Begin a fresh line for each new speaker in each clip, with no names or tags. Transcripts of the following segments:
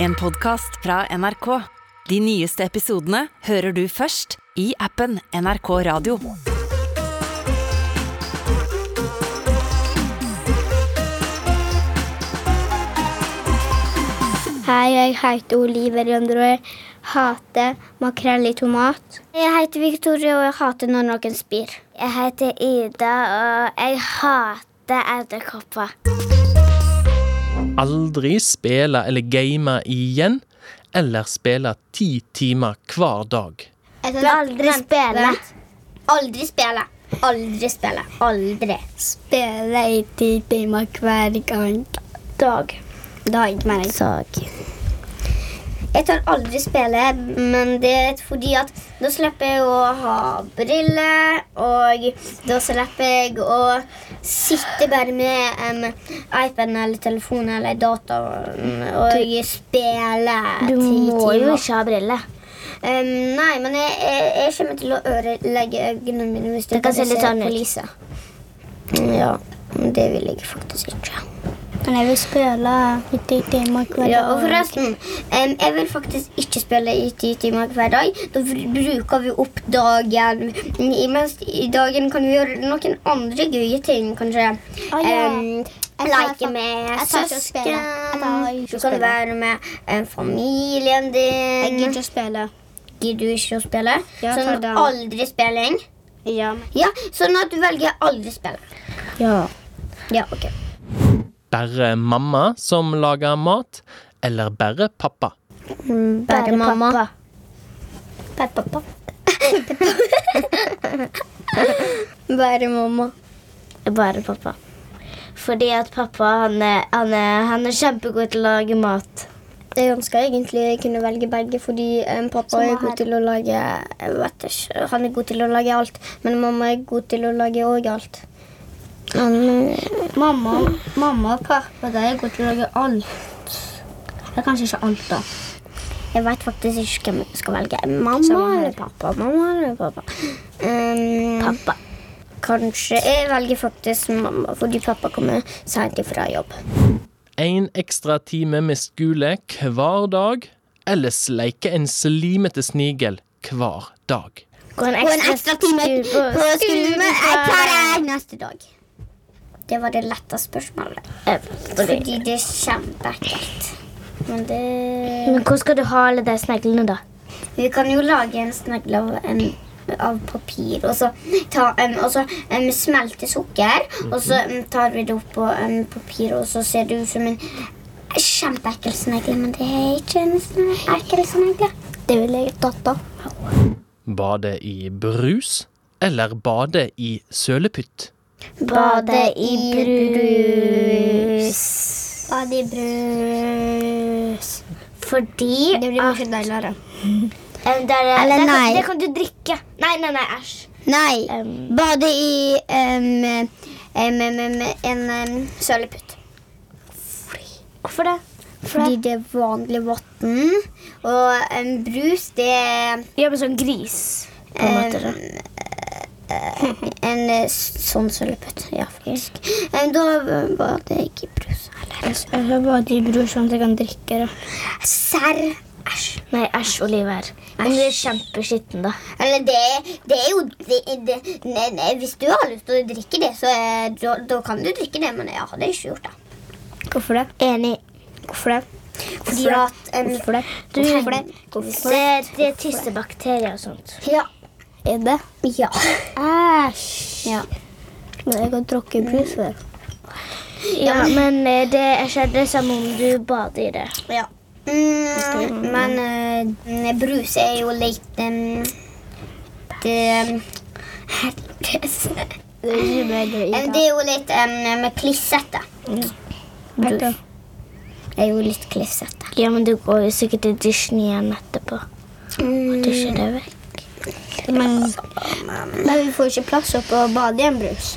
En podcast fra NRK. De nyeste episodene hører du først i appen NRK Radio.
Hei, jeg heter Oliver Rønder, og jeg hater makrell i tomat. Jeg heter Victoria, og jeg hater når noen spyr. Jeg heter Ida, og jeg hater edderkopper.
aldri spille eller game igjen, eller spille ti timer hver dag.
Jeg vil aldri spille. Aldri spille. Aldri spille. Aldri. Spille i ti timer hver gang. Dag. Dag, mener jeg. Jeg tar aldri spille, men det er fordi at da slipper jeg å ha briller, og da slipper jeg å sitte bare med um, iPaden eller telefonen eller dataen og spille ti timer. Du må jo ikke ha briller. Um, nei, men jeg, jeg, jeg kommer til å ørelegge øynene mine hvis du
Det kan se litt sånn ut.
på lyset. Ja, men det vil jeg faktisk ikke.
Men jeg vil spille i ti timer hver
Ja, og forresten, em, jeg vil faktisk ikke spille i ti timer hver dag. Da br- bruker vi opp dagen. I- Mens i dagen kan vi gjøre noen andre gøye ting, kanskje.
Å, ja.
Em,
Jeg tar
leke
fa-
med
jeg tar ikke å spille. Jeg tar
søsken.
ikke
Du
å
kan
spille.
være med em, familien
Jeg gidder
din.
ikke å spille.
Gidder du ikke å spille?
Ja, jeg tar
Sånn
den.
aldri spilling.
Ja.
Ja, sånn at du velger aldri spille. Ja, ok.
Bare mamma som lager mat, eller bare pappa.
Bare mamma.
Bare pappa.
Bare mamma.
Bare pappa. Fordi at pappa han er, han er, han er kjempegod til å lage mat.
Jeg ønsker egentlig jeg kunne velge begge, fordi em, pappa er god til å lage jeg vet ikke, Han er god til å lage alt, men mamma er god til å lage òg alt. Men
Mamma, mamma og pappa de er gode til å lage alt. Det er kanskje ikke alt, da.
jeg vet faktisk ikke hvem jeg skal velge. Mamma eller pappa? Mamma eller pappa? Em,
Pappa.
Kanskje Jeg velger faktisk mamma, fordi pappa kommer seint ifra jobb.
En ekstra time med skole hver dag, eller sleike en slimete snigel hver dag.
Gå en ekstra, time på skolen hver eneste dag. Det var det lette spørsmålet.
Eh,
Fordi det er kjempeekkelt. Men det
Men hvor skal du ha alle de sneglene, da?
Vi kan jo lage en snegle av, en- av papir, og så, ta, em, og så em, smelte sukker. Og så em, tar vi det opp på em, papir, og så ser det ut som en kjempeekkel snegle. Men det er ikke en sne- ekkel snegle.
Det ville jeg tatt, da.
Bade i brus, eller bade i sølepytt.
Bade i brus.
Bade i brus.
Fordi
Det blir mye deiligere.
Eller
nei.
Det kan du drikke. Nei, nei, nei, æsj.
Nei, bade i em, em, em, em, en um, søleputt.
Hvorfor det?
Fordi det er vanlig vann. Og em, brus, det er
Ja, men sånn gris. På en måte, da.
en eh, s- sånn søleputt. Ja, faktisk. Em, da eh, var det ikke brus. Eller
Jeg skal bade i brus sånn at jeg kan drikke. da.
serr. Æsj.
Nei, æsj, Oliver. Men du er kjempeskitten, da.
Eller det, det er jo det, det, nei, nei, Hvis du har lyst til å drikke det, så eh, da, da kan du drikke det. Men jeg hadde ikke gjort det.
Hvorfor det? Enig. Hvorfor det?
Fordi
Hvorfor det?
at em,
Hvorfor det? Du,
Hvorfor det?
Det, det er tissebakterier og sånt.
Ja.
Er det?
ja.
Æsj.
Ja.
Men jeg kan tråkke i brus før. Ja, men eh, det er ikke det samme om du bader i det.
Ja. Mm, men eh, brus er jo litt eh, um, det, Helvetes.
Det er ikke bedre i
Eh, Det er jo litt um, med klissete.
brus.
Det er jo litt klissete.
Ja, men du går jo sikkert i dusjen igjen etterpå. Dusjer deg vekk.
Men, vi får ikke plass opp å bade i en brus.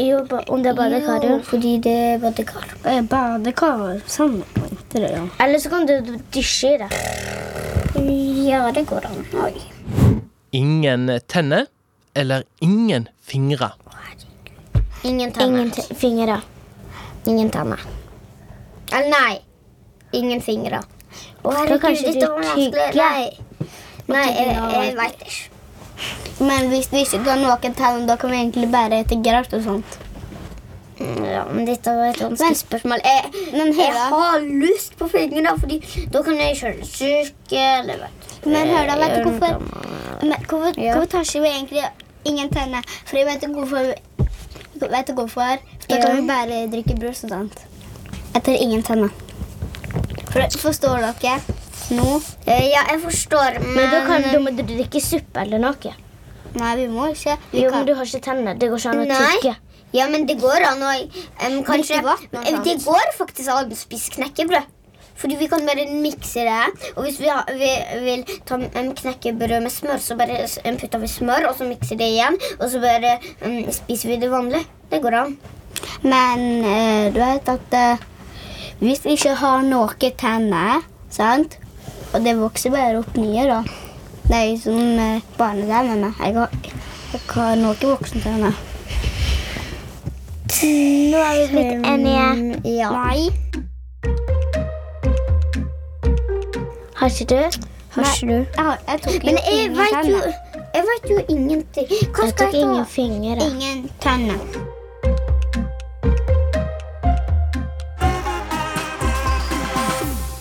Jo, ba under badekaret.
Jo, fordi det er badekar.
Eh, Badekar. Samme pointe, det, ja. Eller så kan du dusje i det.
Ja, det går an. Oi.
Ingen tenner, eller ingen fingre.
Ingen
Ingen
tenner.
t- fingre.
Ingen tenner. Eller nei. Ingen fingre.
Ofte
Herregud,
kanskje du
dette var vanskelig.
tygger.
Nei, Nei jeg, jeg veit ikke. Men hvis vi ikke kan noen tegn, da kan vi egentlig bare hete Graut og sånt.
Ja, men dette var et
Mm, Men spørsmål er Men
Hera?
jeg har lyst på flytning, da, fordi da kan jeg kjøre styrke eller vet du. Men hør da, vet du hvorfor men, Hvorfor, hvorfor tar ikke vi egentlig ingen tenner? Fordi vet du hvorfor? Vet du hvorfor? For da kan vi bare drikke brus og sånt. Etter ingen tenner. For, forstår dere nå? Eh, Ja, jeg forstår, men,
Men da, kan, da må du drikke suppe eller noe.
Nei, vi må ikke. Vi
Jo,
kan-
men du har ikke tenner. Det går ikke an å
Nei.
tygge.
ja, men det går an å em, kanskje,
Drikke
Eh,
vann og sånt.
Det går faktisk an å spise knekkebrød. Fordi vi kan bare mikse det. Og hvis vi, har, vi vil ta em, knekkebrød med smør, så bare em, putter vi smør, og så mikser det igjen. Og så bare em, spiser vi det vanlig. Det går an. Men eh, du vet at hvis vi ikke har noe tenner, sant? Og det vokser bare opp nye, da. Det er jo som eh, barnetennene. Jeg har, jeg har noe voksentenner.
Nå er vi blitt enige.
Eh, Ja. Nei.
Har ikke du? Har ikke du?
Jeg, har, jeg tok jo Men jeg vet jo, jeg vet jo ingenting. Hva
Jeg tok ingen fingre.
Ingen tenner.